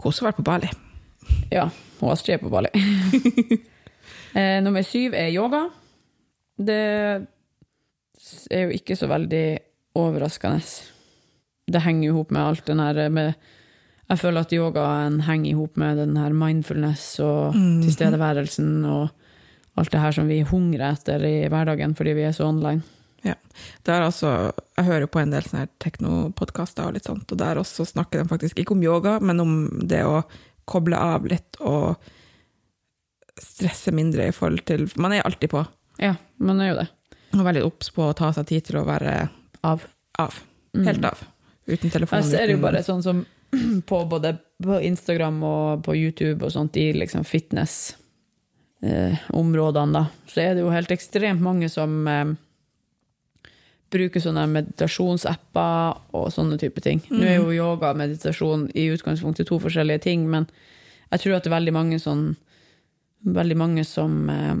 Speaker 2: Kose å være på Bali.
Speaker 1: Ja, og Astrid er på Bali. eh, nummer syv er yoga. Det er jo ikke så veldig overraskende. Det henger jo ihop med alt den her med Jeg føler at yogaen henger ihop med den her mindfulness og
Speaker 2: Mhm. Mm.
Speaker 1: tilstedeværelsen og alt det her som vi hungrer etter i hverdagen fordi vi er så online.
Speaker 2: Ja. Det er altså, jeg hører jo på en del sånne her teknopodkaster og litt sånt, og der også snakker de faktisk ikke om yoga, men om det å koble av litt og stresse mindre i forhold til Man er alltid på,
Speaker 1: Ja, man er jo det.
Speaker 2: og veldig obs på å ta seg tid til å være
Speaker 1: Av. Mm.
Speaker 2: av. Helt av. Uten telefon.
Speaker 1: Jeg ser jo
Speaker 2: uten-
Speaker 1: bare sånn som *clears throat* på både på Instagram og på YouTube og sånt, i liksom fitness-områdene, da, så er det jo helt ekstremt mange som eh, bruker sånne meditasjonsapper og sånne type ting. Nå er jo yoga og meditasjon i utgangspunktet to forskjellige ting, men jeg tror at det er veldig mange sånn Veldig mange som eh,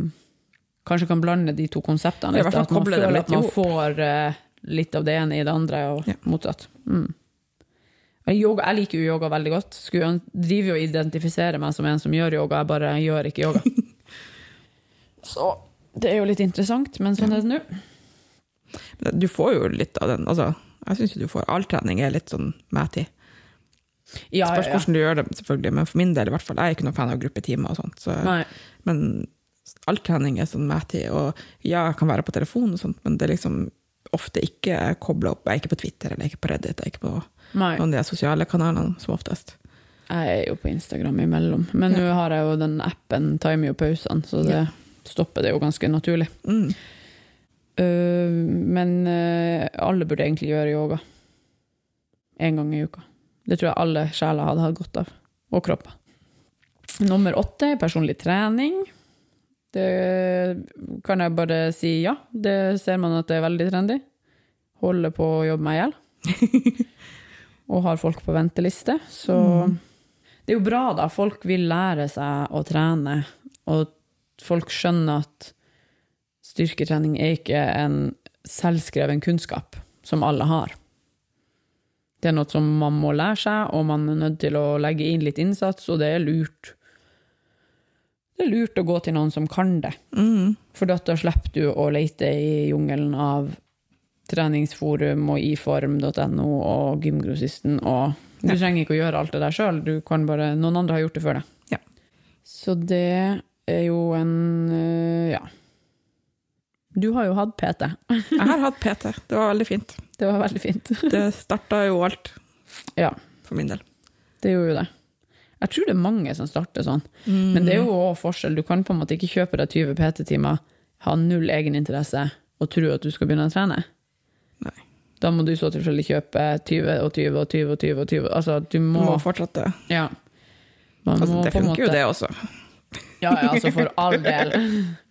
Speaker 1: kanskje kan blande de to konseptene.
Speaker 2: Ja, i
Speaker 1: litt,
Speaker 2: hvert fall
Speaker 1: at man
Speaker 2: koble dem
Speaker 1: føler
Speaker 2: litt
Speaker 1: at man
Speaker 2: ihop.
Speaker 1: får eh, litt av det ene i det andre, og
Speaker 2: Ja.
Speaker 1: motsatt. Mm. Men Yoga, jeg liker jo yoga veldig godt. Skulle øn- driver jo og identifiserer meg som en som gjør yoga, jeg bare gjør ikke yoga. *laughs* Så det er jo litt interessant, men sånn er det nå.
Speaker 2: Du får jo litt av den, altså. Jeg syns jo du får All trening er litt sånn mæti.
Speaker 1: Ja,
Speaker 2: Spørs
Speaker 1: ja, ja.
Speaker 2: hvordan du gjør det, selvfølgelig, men for min del i hvert fall. Jeg er ikke noen fan av gruppetimer og sånt. Så.
Speaker 1: Nei.
Speaker 2: Men all trening er sånn mætig, og ja, jeg kan være på telefon og sånt, men det er liksom ofte ikke kobla opp. Jeg er ikke på Twitter, eller jeg er ikke på Reddit, jeg er ikke på
Speaker 1: Nei.
Speaker 2: noen av de sosiale kanalene som oftest.
Speaker 1: Jeg er jo på Instagram imellom, men nå har jeg jo den appen timer jo pausene, så det stopper det jo ganske naturlig.
Speaker 2: Mm.
Speaker 1: Øh, men øh, alle burde egentlig gjøre yoga. En gang i uka. Det tror jeg alle sjeler hadde hatt godt av. Og kropper. Nummer åtte er personlig trening. Det kan jeg bare si ja. Det ser man at det er veldig trendy. Holder på å jobbe meg i hjel. og har folk på venteliste. Så det er jo bra, da. Folk vil lære seg å trene. Og folk skjønner at styrketrening er ikke en selvskreven kunnskap som alle har. Det er noe som man må lære seg, og man er nødt til å legge inn litt
Speaker 2: mm.
Speaker 1: innsats, og det er lurt. Det er lurt å gå til noen som kan det, For da da slipper du å lete i jungelen av treningsforum og iform.no og gymgrossisten og Du
Speaker 2: Ja.
Speaker 1: trenger ikke å gjøre alt det der sjøl, du kan bare Noen andre har gjort det før deg.
Speaker 2: Ja.
Speaker 1: Så det er jo en øh, Ja. Du har jo hatt PT.
Speaker 2: Jeg har hatt PT. Det var veldig fint.
Speaker 1: Det var veldig fint. *laughs*
Speaker 2: Det starta jo alt,
Speaker 1: Ja,
Speaker 2: for min del.
Speaker 1: det gjorde jo det. Jeg tror det er mange som starter sånn. Men
Speaker 2: Mhm.
Speaker 1: det er jo òg forskjell. Du kan på en måte ikke kjøpe deg 20 PT-timer, ha null egeninteresse og tro at du skal begynne å trene.
Speaker 2: Nei.
Speaker 1: Da må du i så tilfelle kjøpe 20 og 20 og 20 og 20. Og 20. Altså, du må,
Speaker 2: Mm. Må fortsette.
Speaker 1: Ja. Man
Speaker 2: Altså,
Speaker 1: må
Speaker 2: det
Speaker 1: på en
Speaker 2: funker jo,
Speaker 1: måte-
Speaker 2: det også.
Speaker 1: Ja, ja, altså
Speaker 2: *laughs*
Speaker 1: for all del.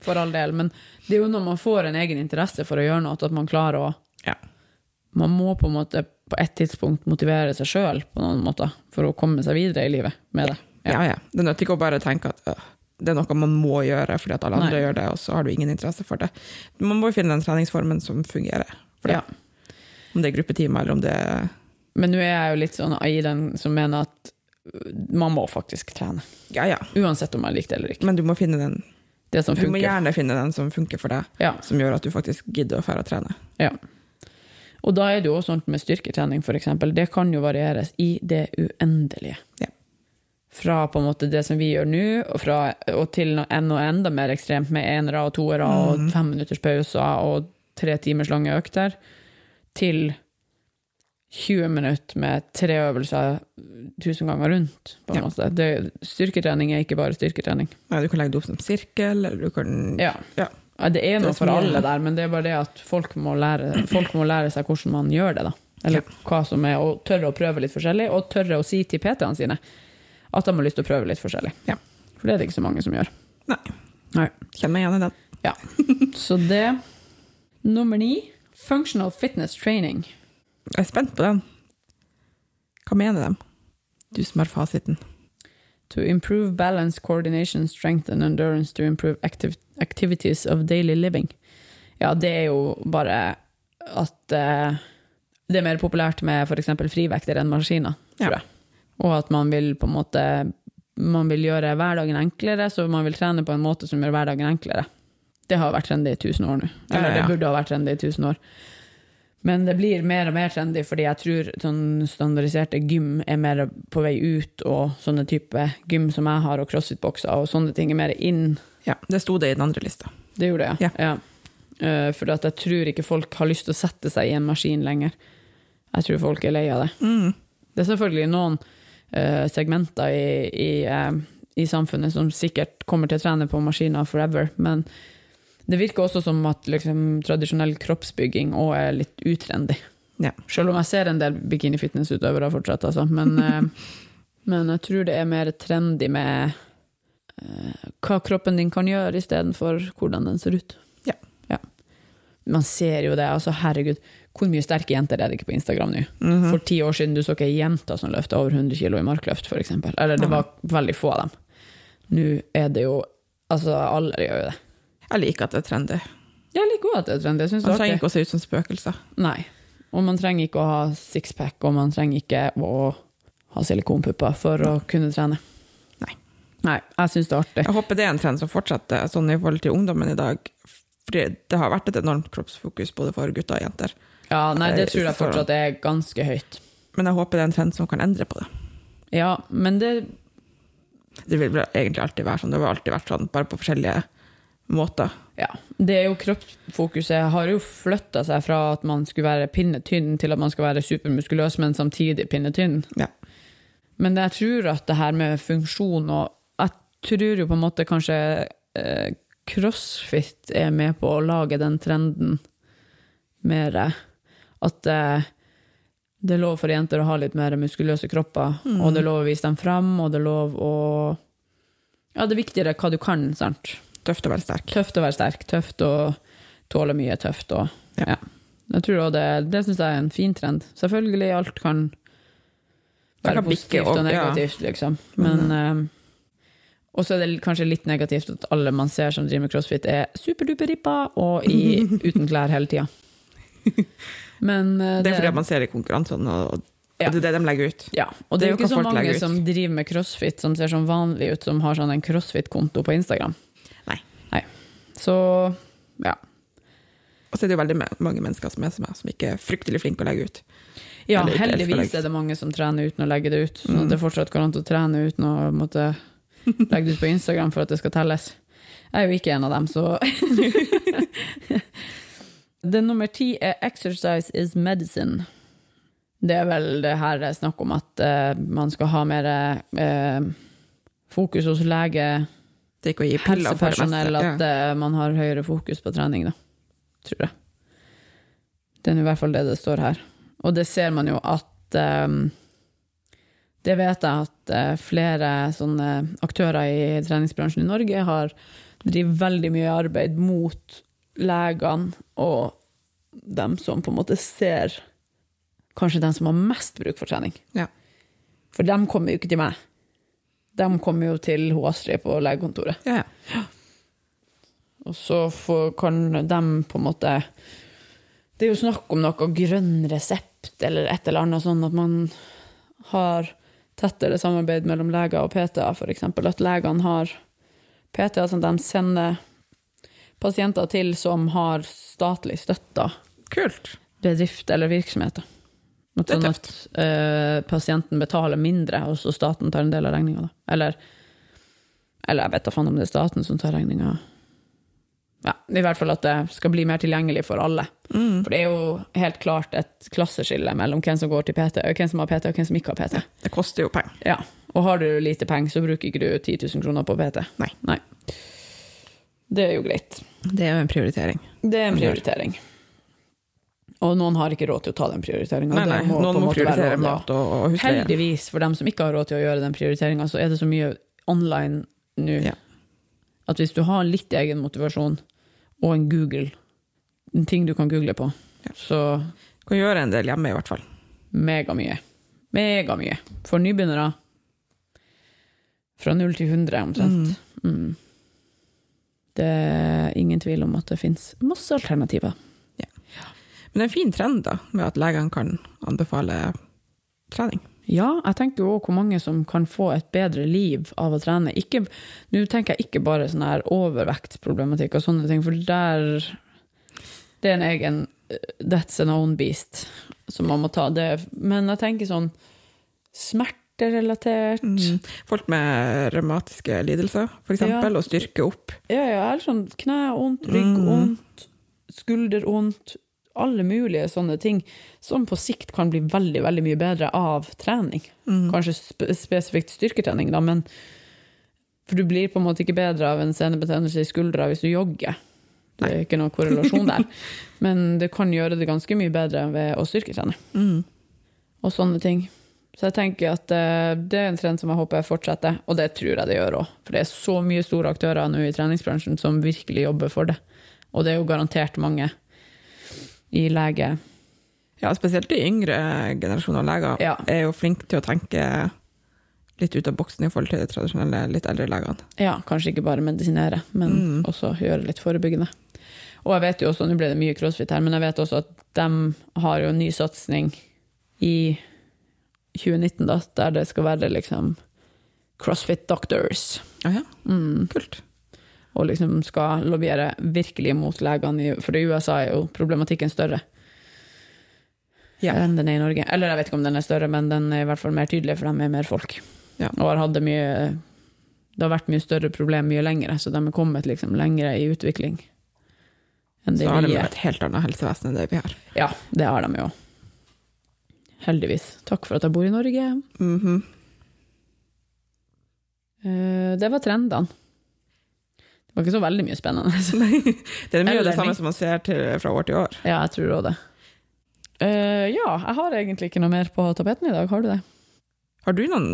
Speaker 1: For all del. Men det er jo når man får en egen interesse for å gjøre noe, at man klarer å
Speaker 2: Ja.
Speaker 1: Man må på en måte på et tidspunkt motivere seg sjøl på noen måter for å komme seg videre i livet med det.
Speaker 2: Ja, ja. Det nytter ikke å bare tenke at øh, det er noe man må gjøre fordi at alle andre
Speaker 1: Nei.
Speaker 2: gjør det, og så har du ingen interesse for det. Man må jo finne den treningsformen som fungerer. For det.
Speaker 1: Ja.
Speaker 2: Om det er gruppetimer, eller om det er
Speaker 1: Men nå er jeg jo litt sånn i den som mener at man må faktisk trene.
Speaker 2: Ja, ja.
Speaker 1: Uansett om jeg liker det eller ikke.
Speaker 2: Men du må, finne den.
Speaker 1: Det som
Speaker 2: du må
Speaker 1: funker.
Speaker 2: gjerne finne den som funker for deg,
Speaker 1: Ja,
Speaker 2: som gjør at du faktisk gidder å dra og trene.
Speaker 1: ja. Og da er det jo også sånt med styrketrening, for eksempel. Det kan jo varieres i det uendelige.
Speaker 2: Ja.
Speaker 1: Fra på en måte det som vi gjør nå, og, fra, og til noe en og enda mer ekstremt med enere og toere og
Speaker 2: Mhm.
Speaker 1: fem minutters pauser og tre timers lange økter, til 20 minutter med tre øvelser tusen ganger rundt. På en
Speaker 2: Ja.
Speaker 1: måte. Det, styrketrening er ikke bare styrketrening.
Speaker 2: Nei, du kan legge det opp som sirkel, eller du kan
Speaker 1: Ja.
Speaker 2: Ja.
Speaker 1: Ja, Det er
Speaker 2: Det
Speaker 1: noe
Speaker 2: er
Speaker 1: for
Speaker 2: som
Speaker 1: alle
Speaker 2: gjelder.
Speaker 1: der, men det er bare det at folk må lære, folk må lære seg hvordan man gjør det. da. Eller hva som er, og tørre å prøve litt forskjellig, og tørre å si til PT-ene sine at de har lyst til å prøve litt forskjellig.
Speaker 2: Ja.
Speaker 1: For det er det ikke så mange som gjør.
Speaker 2: Nei.
Speaker 1: Nei.
Speaker 2: Kjenn meg igjen i den.
Speaker 1: Ja. Så det Nummer ni functional fitness training.
Speaker 2: Jeg er spent på den. Hva mener de? Du som har fasiten.
Speaker 1: To improve balance, coordination, strength and endurance to improve activ activities of daily living. Ja, det er jo bare at eh, det er mer populært med f.eks. frivekter enn maskiner, tror
Speaker 2: Ja.
Speaker 1: jeg. Og at man vil på en måte man vil gjøre hverdagen enklere, så man vil trene på en måte som gjør hverdagen enklere. Det har vært trendy i tusen år nå. Eller
Speaker 2: Ja, ja, ja.
Speaker 1: det burde ha vært trendy i tusen år. Men det blir mer og mer trendy, fordi jeg tror sånn standardiserte gym er mer på vei ut, og sånne type gym som jeg har, og crossfit-bokser og sånne ting er mer inn.
Speaker 2: Ja, det sto det i den andre lista.
Speaker 1: Det gjorde jeg.
Speaker 2: Ja.
Speaker 1: Ja. Eh, for at jeg tror ikke folk har lyst til å sette seg i en maskin lenger. Jeg tror folk er lei av det. Det er selvfølgelig noen eh, segmenter i, i, eh, i samfunnet som sikkert kommer til å trene på maskiner forever, men det virker også som at liksom, tradisjonell kroppsbygging òg er litt utrendy.
Speaker 2: Ja.
Speaker 1: Selv om jeg ser en del bikini-fitness-utøvere fortsatt, altså. Men, eh, *laughs* men jeg tror det er mer trendy med eh, hva kroppen din kan gjøre, istedenfor hvordan den ser ut.
Speaker 2: Ja.
Speaker 1: Man ser jo det. altså Herregud, hvor mye sterke jenter er det ikke på Instagram nå?
Speaker 2: Mm. Mhm.
Speaker 1: For ti år siden du så ikke ei jente som løfta over 100 kg i markløft, f.eks. Eller det var veldig få av dem. Nå er det jo Altså, alle gjør jo det.
Speaker 2: Jeg liker at det er trendy.
Speaker 1: Jeg liker òg at det er trendy. Jeg synes det
Speaker 2: Man
Speaker 1: er artig.
Speaker 2: trenger ikke å se ut som spøkelser.
Speaker 1: Nei. Og man trenger ikke å ha sixpack, og man trenger ikke å ha silikonpupper for å kunne trene.
Speaker 2: Nei.
Speaker 1: Nei, jeg syns det er artig.
Speaker 2: Jeg håper det er en trend som fortsetter sånn i forhold til ungdommen i dag. Fordi det har vært et enormt kroppsfokus både for gutter og jenter.
Speaker 1: Ja, nei, det
Speaker 2: Jeg
Speaker 1: tror jeg
Speaker 2: synes det er
Speaker 1: fortsatt er ganske høyt.
Speaker 2: Men jeg håper det er en trend som kan endre på det.
Speaker 1: Ja, men det
Speaker 2: Det vil vel egentlig alltid være sånn. Det har alltid vært sånn, bare på forskjellige måter.
Speaker 1: Ja. Det er jo kroppsfokuset har jo flytta seg fra at man skulle være pinnetynn, til at man skal være supermuskuløs, men samtidig pinnetynn.
Speaker 2: Ja.
Speaker 1: Men jeg tror at det her med funksjon og Jeg tror jo på en måte kanskje eh, crossfit er med på å lage den trenden mer. At eh, det er lov for jenter å ha litt mer muskuløse kropper, og det er lov å vise dem fram, og det er lov å Ja, det er viktigere hva du kan, sant?
Speaker 2: Tøft å være sterk.
Speaker 1: Tøft å være sterk, tøft å tåle mye, tøft å
Speaker 2: Ja.
Speaker 1: ja. Jeg tror også det, det syns jeg er en fin trend. Selvfølgelig, alt kan
Speaker 2: Det
Speaker 1: være
Speaker 2: kan bikke
Speaker 1: positivt
Speaker 2: opp,
Speaker 1: og
Speaker 2: ja.
Speaker 1: negativt, liksom. Men eh, også er det kanskje litt negativt at alle man ser som driver med crossfit, er superduper rippa og
Speaker 2: *laughs*
Speaker 1: i, uten klær hele tida. Men eh,
Speaker 2: Det er fordi at man ser i konkurransene, og og
Speaker 1: Ja.
Speaker 2: det er det de legger ut.
Speaker 1: ja, og det er jo
Speaker 2: hva
Speaker 1: ikke så
Speaker 2: folk legger
Speaker 1: mange
Speaker 2: ut.
Speaker 1: som driver med crossfit som ser sånn vanlig ut, som har sånn en crossfit-konto på Instagram.
Speaker 2: Nei.
Speaker 1: Så ja.
Speaker 2: Og så er det jo veldig me- mange mennesker som er som meg, som ikke er fryktelig flinke å legge ut.
Speaker 1: ja
Speaker 2: Eller ikke helt
Speaker 1: heldigvis
Speaker 2: forlegg.
Speaker 1: er det mange som trener uten å legge det ut. Sånn at det fortsatt går an å trene uten å måtte legge det ut på Instagram for at det skal telles. Jeg er jo ikke en av dem, så *laughs* Den nummer ti er 'Exercise is medicine'. Det er vel det her det er snakk om at eh, man skal ha mer eh, fokus hos lege
Speaker 2: Det er ikke å gi piller for det
Speaker 1: helsepersonell
Speaker 2: meste.
Speaker 1: at
Speaker 2: Ja.
Speaker 1: eh, man har høyere fokus på trening, da. Tror jeg. Det er i hvert fall det det står her. Og det ser man jo at eh, Det vet jeg at eh, flere sånne aktører i treningsbransjen i Norge har driver veldig mye arbeid mot legene og dem som på en måte ser Kanskje dem som har mest bruk for trening.
Speaker 2: Ja.
Speaker 1: For dem kommer jo ikke til meg. Dem kommer jo til hun Astrid på legekontoret.
Speaker 2: Ja, ja.
Speaker 1: Og så får, kan de på en måte Det er jo snakk om noe grønn resept eller et eller annet sånn at man har tettere samarbeid mellom leger og PTA, f.eks. At legene har PTA som de sender pasienter til som har statlig støtta
Speaker 2: Kult.
Speaker 1: bedrift eller virksomhet. da. At
Speaker 2: Det er
Speaker 1: Sånn at eh, pasienten betaler mindre, og så staten tar en del av regninga. Eller, eller jeg vet da faen om det er staten som tar regninga. Ja, I hvert fall at det skal bli mer tilgjengelig for alle.
Speaker 2: Mm.
Speaker 1: For det er jo helt klart et klasseskille mellom hvem som går til PT, og hvem som har PT, og hvem som ikke har PT.
Speaker 2: Det koster jo penger.
Speaker 1: Ja, Og har du lite penger, så bruker ikke du 10 000 kroner på PT.
Speaker 2: Nei.
Speaker 1: Nei. Det er jo greit.
Speaker 2: Det er jo en prioritering.
Speaker 1: Det er en prioritering. Og noen har ikke råd til å ta den prioriteringa.
Speaker 2: Nei, nei. Noen må prioritere mat og, og husleie.
Speaker 1: Heldigvis, for dem som ikke har råd til å gjøre den prioriteringa, så er det så mye online nå
Speaker 2: Ja.
Speaker 1: at hvis du har litt egen motivasjon og en Google, en ting du kan google på, så
Speaker 2: Kan gjøre en del hjemme, i hvert fall.
Speaker 1: megamye. Megamye. For nybegynnere. Fra null til 100, omtrent. Mm. Det er ingen tvil om at det fins masse alternativer.
Speaker 2: Men det er en fin trend, da, med at legene kan anbefale trening.
Speaker 1: Ja, jeg tenker jo òg hvor mange som kan få et bedre liv av å trene. Ikke, nå tenker jeg ikke bare sånn her overvektsproblematikk og sånne ting, for der Det er en egen eh, That's an own beast som man må ta. Det. Men jeg tenker sånn smerterelatert
Speaker 2: Mm. Folk med revmatiske lidelser, f.eks.,
Speaker 1: Mm. Ja.
Speaker 2: og styrke opp.
Speaker 1: Ja, ja, eller sånn knevondt, ryggvondt, skuldervondt. Alle mulige sånne ting som på sikt kan bli veldig veldig mye bedre av trening.
Speaker 2: Mm.
Speaker 1: Kanskje spe spesifikt styrketrening, da, men For du blir på en måte ikke bedre av en senebetennelse i skuldra hvis du jogger. Det er ikke noen korrelasjon der. Men det kan gjøre det ganske mye bedre ved å styrketrene.
Speaker 2: Mm.
Speaker 1: Og sånne ting. Så jeg tenker at eh, det er en trend som jeg håper jeg fortsetter, og det tror jeg det gjør òg. For det er så mye store aktører nå i treningsbransjen som virkelig jobber for det. Og det er jo garantert mange i lege.
Speaker 2: Ja, spesielt de yngre generasjoner av leger
Speaker 1: Ja.
Speaker 2: er jo flinke til å tenke litt ut av boksen i forhold til de tradisjonelle, litt eldre legene.
Speaker 1: Ja, kanskje ikke bare medisinere, men også gjøre litt forebyggende. Og jeg vet jo også, nå ble det mye crossfit her, men jeg vet også at de har jo en ny satsing i 2019, da, der det skal være liksom crossfit doctors. Mm.
Speaker 2: Ja, ja. Kult.
Speaker 1: og liksom skal lobbyere virkelig mot legene, i- for i USA er jo problematikken større
Speaker 2: Ja.
Speaker 1: enn den er i Norge. Eller jeg vet ikke om den er større, men den er i hvert fall mer tydelig, for de er mer folk.
Speaker 2: Ja.
Speaker 1: Og har hatt det mye Det har vært mye større problem mye lengre, så de er kommet liksom lengre i utvikling enn det
Speaker 2: Så har de
Speaker 1: vi
Speaker 2: jo
Speaker 1: er.
Speaker 2: et helt annet helsevesen enn det vi har.
Speaker 1: Ja, det har de jo. Heldigvis. Takk for at jeg bor i Norge.
Speaker 2: Mhm. *laughs*
Speaker 1: Eh, Det var trendene. Det var ikke så veldig mye spennende. *laughs*
Speaker 2: Det er mye av
Speaker 1: Eller
Speaker 2: det samme
Speaker 1: ny.
Speaker 2: som man ser til, fra år til år.
Speaker 1: Ja, jeg tror òg det. Eh, ja, jeg har egentlig ikke noe mer på tapeten i dag, har du det?
Speaker 2: Har du noen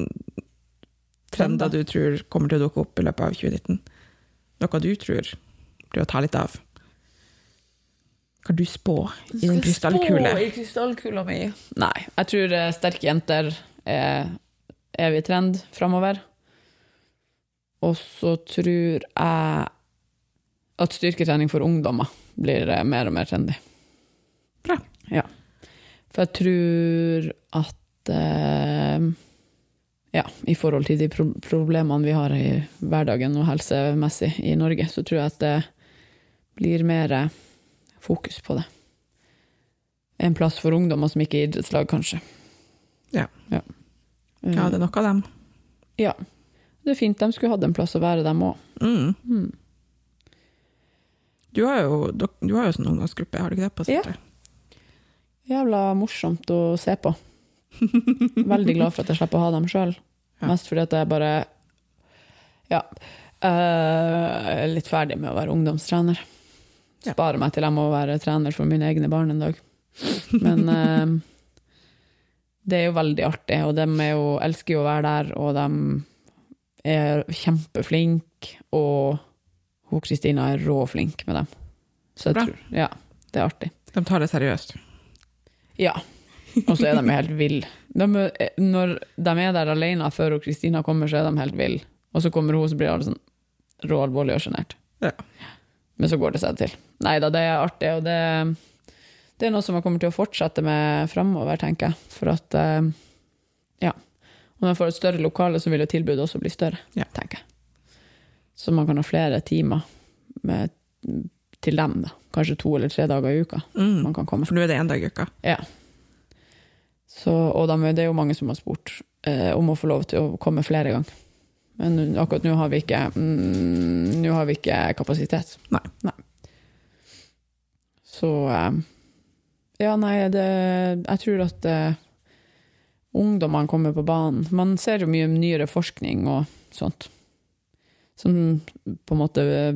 Speaker 2: trender du tror kommer til å dukke opp i løpet av 2019? Noe du tror blir å ta litt av? Kan du spå i en krystallkule?
Speaker 1: i krystallkula mi. Nei, jeg tror eh, sterke jenter er evig trend framover. Og så tror jeg at styrketrening for ungdommer blir eh, mer og mer trendy.
Speaker 2: Bra.
Speaker 1: Ja. For jeg tror at eh, Ja, i forhold til de pro problemene vi har i hverdagen og helsemessig i Norge, så tror jeg at det blir mer eh, fokus på det. En plass for ungdommer som ikke er idrettslag, kanskje.
Speaker 2: Ja.
Speaker 1: Ja. Mm.
Speaker 2: Ja, det er nok av dem.
Speaker 1: Eh, Det er fint, de skulle hatt en plass å være, dem òg.
Speaker 2: Mm.
Speaker 1: Mm.
Speaker 2: Du har jo, du, du har jo sånn ungdomsgruppe, har du ikke det? på
Speaker 1: Ja.
Speaker 2: Sørtøy?
Speaker 1: Jævla morsomt å se
Speaker 2: *laughs*
Speaker 1: på. Veldig glad for at jeg slipper å ha dem sjøl.
Speaker 2: Ja.
Speaker 1: Mest fordi at jeg bare ja, eh, er litt ferdig med å være ungdomstrener.
Speaker 2: Ja.
Speaker 1: Sparer meg til jeg må være trener for mine egne barn en dag.
Speaker 2: *laughs*
Speaker 1: Men eh, det er jo veldig artig, og de er jo, elsker jo å være der, og de er kjempeflinke. Og hun Kristina er råflink med dem. Så jeg
Speaker 2: Bra.
Speaker 1: tror, ja, det er artig.
Speaker 2: De tar det seriøst.
Speaker 1: Ja. Og så er de jo helt ville. Når de er der alene før hun Kristina kommer, så er de helt ville. Og så kommer hun, så blir alle sånn råalvorlige og sjenert.
Speaker 2: Ja.
Speaker 1: Men så går det seg til. Nei da, det er artig, og det, det er noe som jeg kommer til å fortsette med framover, tenker jeg. For at eh, Ja. Og når jeg får et større lokale, så vil jo tilbudet også bli større,
Speaker 2: Ja.
Speaker 1: tenker jeg. Så man kan ha flere timer med, til dem, da. Kanskje to eller tre dager i uka
Speaker 2: Mm.
Speaker 1: man kan komme.
Speaker 2: For nå er det én dag i uka.
Speaker 1: Så, og de, det er jo mange som har spurt eh, om å få lov til å komme flere ganger. Men akkurat nå har vi ikke, mm, nå har vi ikke kapasitet.
Speaker 2: Nei.
Speaker 1: Så eh, Ja, nei, det, jeg tror at eh, ungdommene kommer på banen. Man ser jo mye nyere forskning og sånt. Som på en måte eh,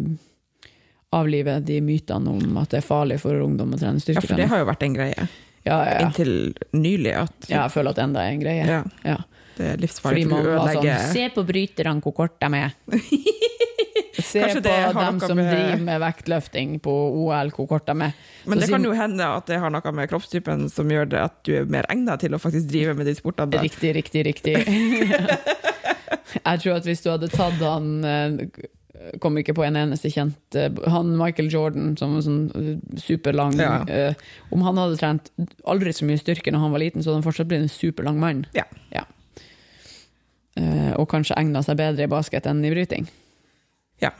Speaker 1: avliver de mytene om at det er farlig for ungdom å trene
Speaker 2: Ja, for det
Speaker 1: styrketrening.
Speaker 2: har jo vært en greie
Speaker 1: Ja, ja, ja.
Speaker 2: inntil nylig. At,
Speaker 1: ja, jeg føler at det enda er en greie.
Speaker 2: ja,
Speaker 1: Ja.
Speaker 2: Det er livsfarlig
Speaker 1: Fordi
Speaker 2: for
Speaker 1: man
Speaker 2: du
Speaker 1: var sånn
Speaker 2: ødelegger
Speaker 1: Se på bryterne hvor kort de
Speaker 2: *laughs*
Speaker 1: er. Se
Speaker 2: Kanskje
Speaker 1: på
Speaker 2: det har
Speaker 1: dem
Speaker 2: noe
Speaker 1: som
Speaker 2: med-
Speaker 1: driver med vektløfting på OL, hvor kort de er.
Speaker 2: Men
Speaker 1: Så
Speaker 2: det kan
Speaker 1: siden-
Speaker 2: jo hende at det har noe med kroppstypen som gjør det at du er mer egna til å faktisk drive med de sportene. da.
Speaker 1: Riktig, riktig,
Speaker 2: *laughs*
Speaker 1: riktig. Jeg tror at hvis du hadde tatt han eh, Kom ikke på en eneste kjent eh, Han Michael Jordan, som var sånn eh, superlang
Speaker 2: Ja.
Speaker 1: eh, Om han hadde trent aldri så mye styrke når han var liten, så hadde han fortsatt blitt en superlang mann.
Speaker 2: Ja.
Speaker 1: Eh, og kanskje egna seg bedre i basket enn i bryting.
Speaker 2: Ja.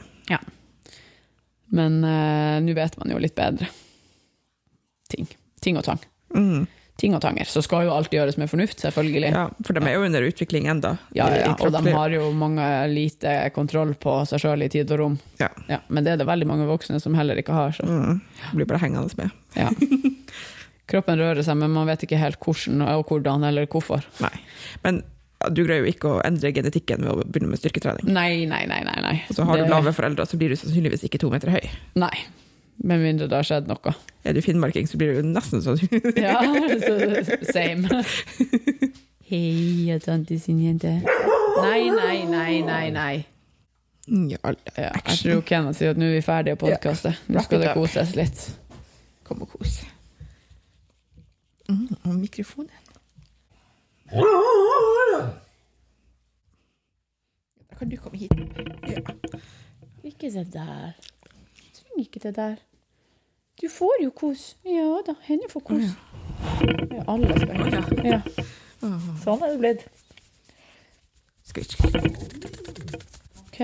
Speaker 1: Men eh, nå vet man jo litt bedre. Ting. Ting og tang.
Speaker 2: Mm.
Speaker 1: Ting og tanger. Så skal jo alt gjøres med fornuft, selvfølgelig.
Speaker 2: Ja, for de er jo under utvikling ennå.
Speaker 1: Ja,
Speaker 2: i- i
Speaker 1: ja, ja. Og de
Speaker 2: kroppsliv.
Speaker 1: har jo mange lite kontroll på seg sjøl i tid og rom.
Speaker 2: Ja.
Speaker 1: men det er det veldig mange voksne som heller ikke har. Så.
Speaker 2: mm. Blir bare hengende med. *laughs*
Speaker 1: Ja. Kroppen rører seg, men man vet ikke helt hvordan og hvordan eller hvorfor.
Speaker 2: Nei. Men du greier jo ikke å endre genetikken ved å begynne med styrketrening.
Speaker 1: Nei, nei, nei. nei, nei.
Speaker 2: Og så har
Speaker 1: Det-
Speaker 2: du lave foreldre, så blir du sannsynligvis ikke to meter høy.
Speaker 1: Nei. Med mindre det har skjedd
Speaker 2: *laughs*
Speaker 1: noe.
Speaker 2: Er du finnmarking, så blir du nesten sånn. *laughs*
Speaker 1: Ja, så, same. Hei, jeg er tante sin jente. Nei, nei, nei, nei. nei.
Speaker 2: ja,
Speaker 1: Ja, jeg tror Kenneth sier at nå er vi ferdige på podkastet. Nå
Speaker 2: Wrap
Speaker 1: skal
Speaker 2: it
Speaker 1: det
Speaker 2: up.
Speaker 1: koses litt.
Speaker 2: Kom og kos. Mm, og mikrofonen. Da kan du komme hit. Ja.
Speaker 1: Ikke det der. Trenger ikke det der. Du får jo kos. Ja da, henne får kos. Ja, alle skal ha kos. Ja. Sånn er det blitt.
Speaker 2: Skal vi-
Speaker 1: Ok.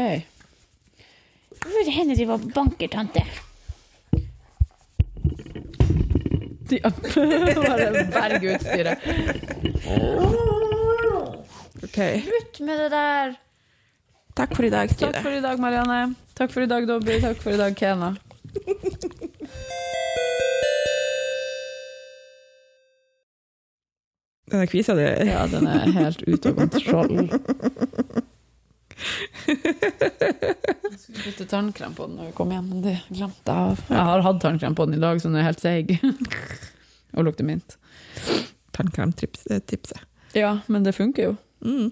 Speaker 3: Hvor er det henne driver og banker, tante?
Speaker 1: De, *laughs* bare berg utstyret.
Speaker 2: Ok.
Speaker 3: Slutt med det der!
Speaker 2: Takk for i dag,
Speaker 1: Takk for i dag, Marianne. Takk for i dag, Dobby. Takk for i dag, Kena.
Speaker 2: Denne kvisa di
Speaker 1: Ja, den er helt ute av kontroll. Jeg skulle bytte tannkrem på den når vi kom hjem, men det glemte jeg av. Jeg har hatt tannkrem på den i dag, så den er helt seig. Og lukter mint.
Speaker 2: tannkremtipset.
Speaker 1: Ja, men det funker jo.
Speaker 2: Mm.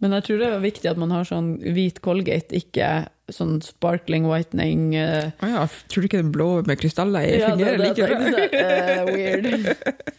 Speaker 1: Men jeg tror det er viktig at man har sånn hvit Colgate, ikke sånn sparkling whitening. eh,
Speaker 2: Å ja, tror du ikke den blå med krystaller i
Speaker 1: ja,
Speaker 2: fungerer
Speaker 1: det- det *laughs*
Speaker 2: like
Speaker 1: tenkte
Speaker 2: bra?
Speaker 1: jeg, eh, weird.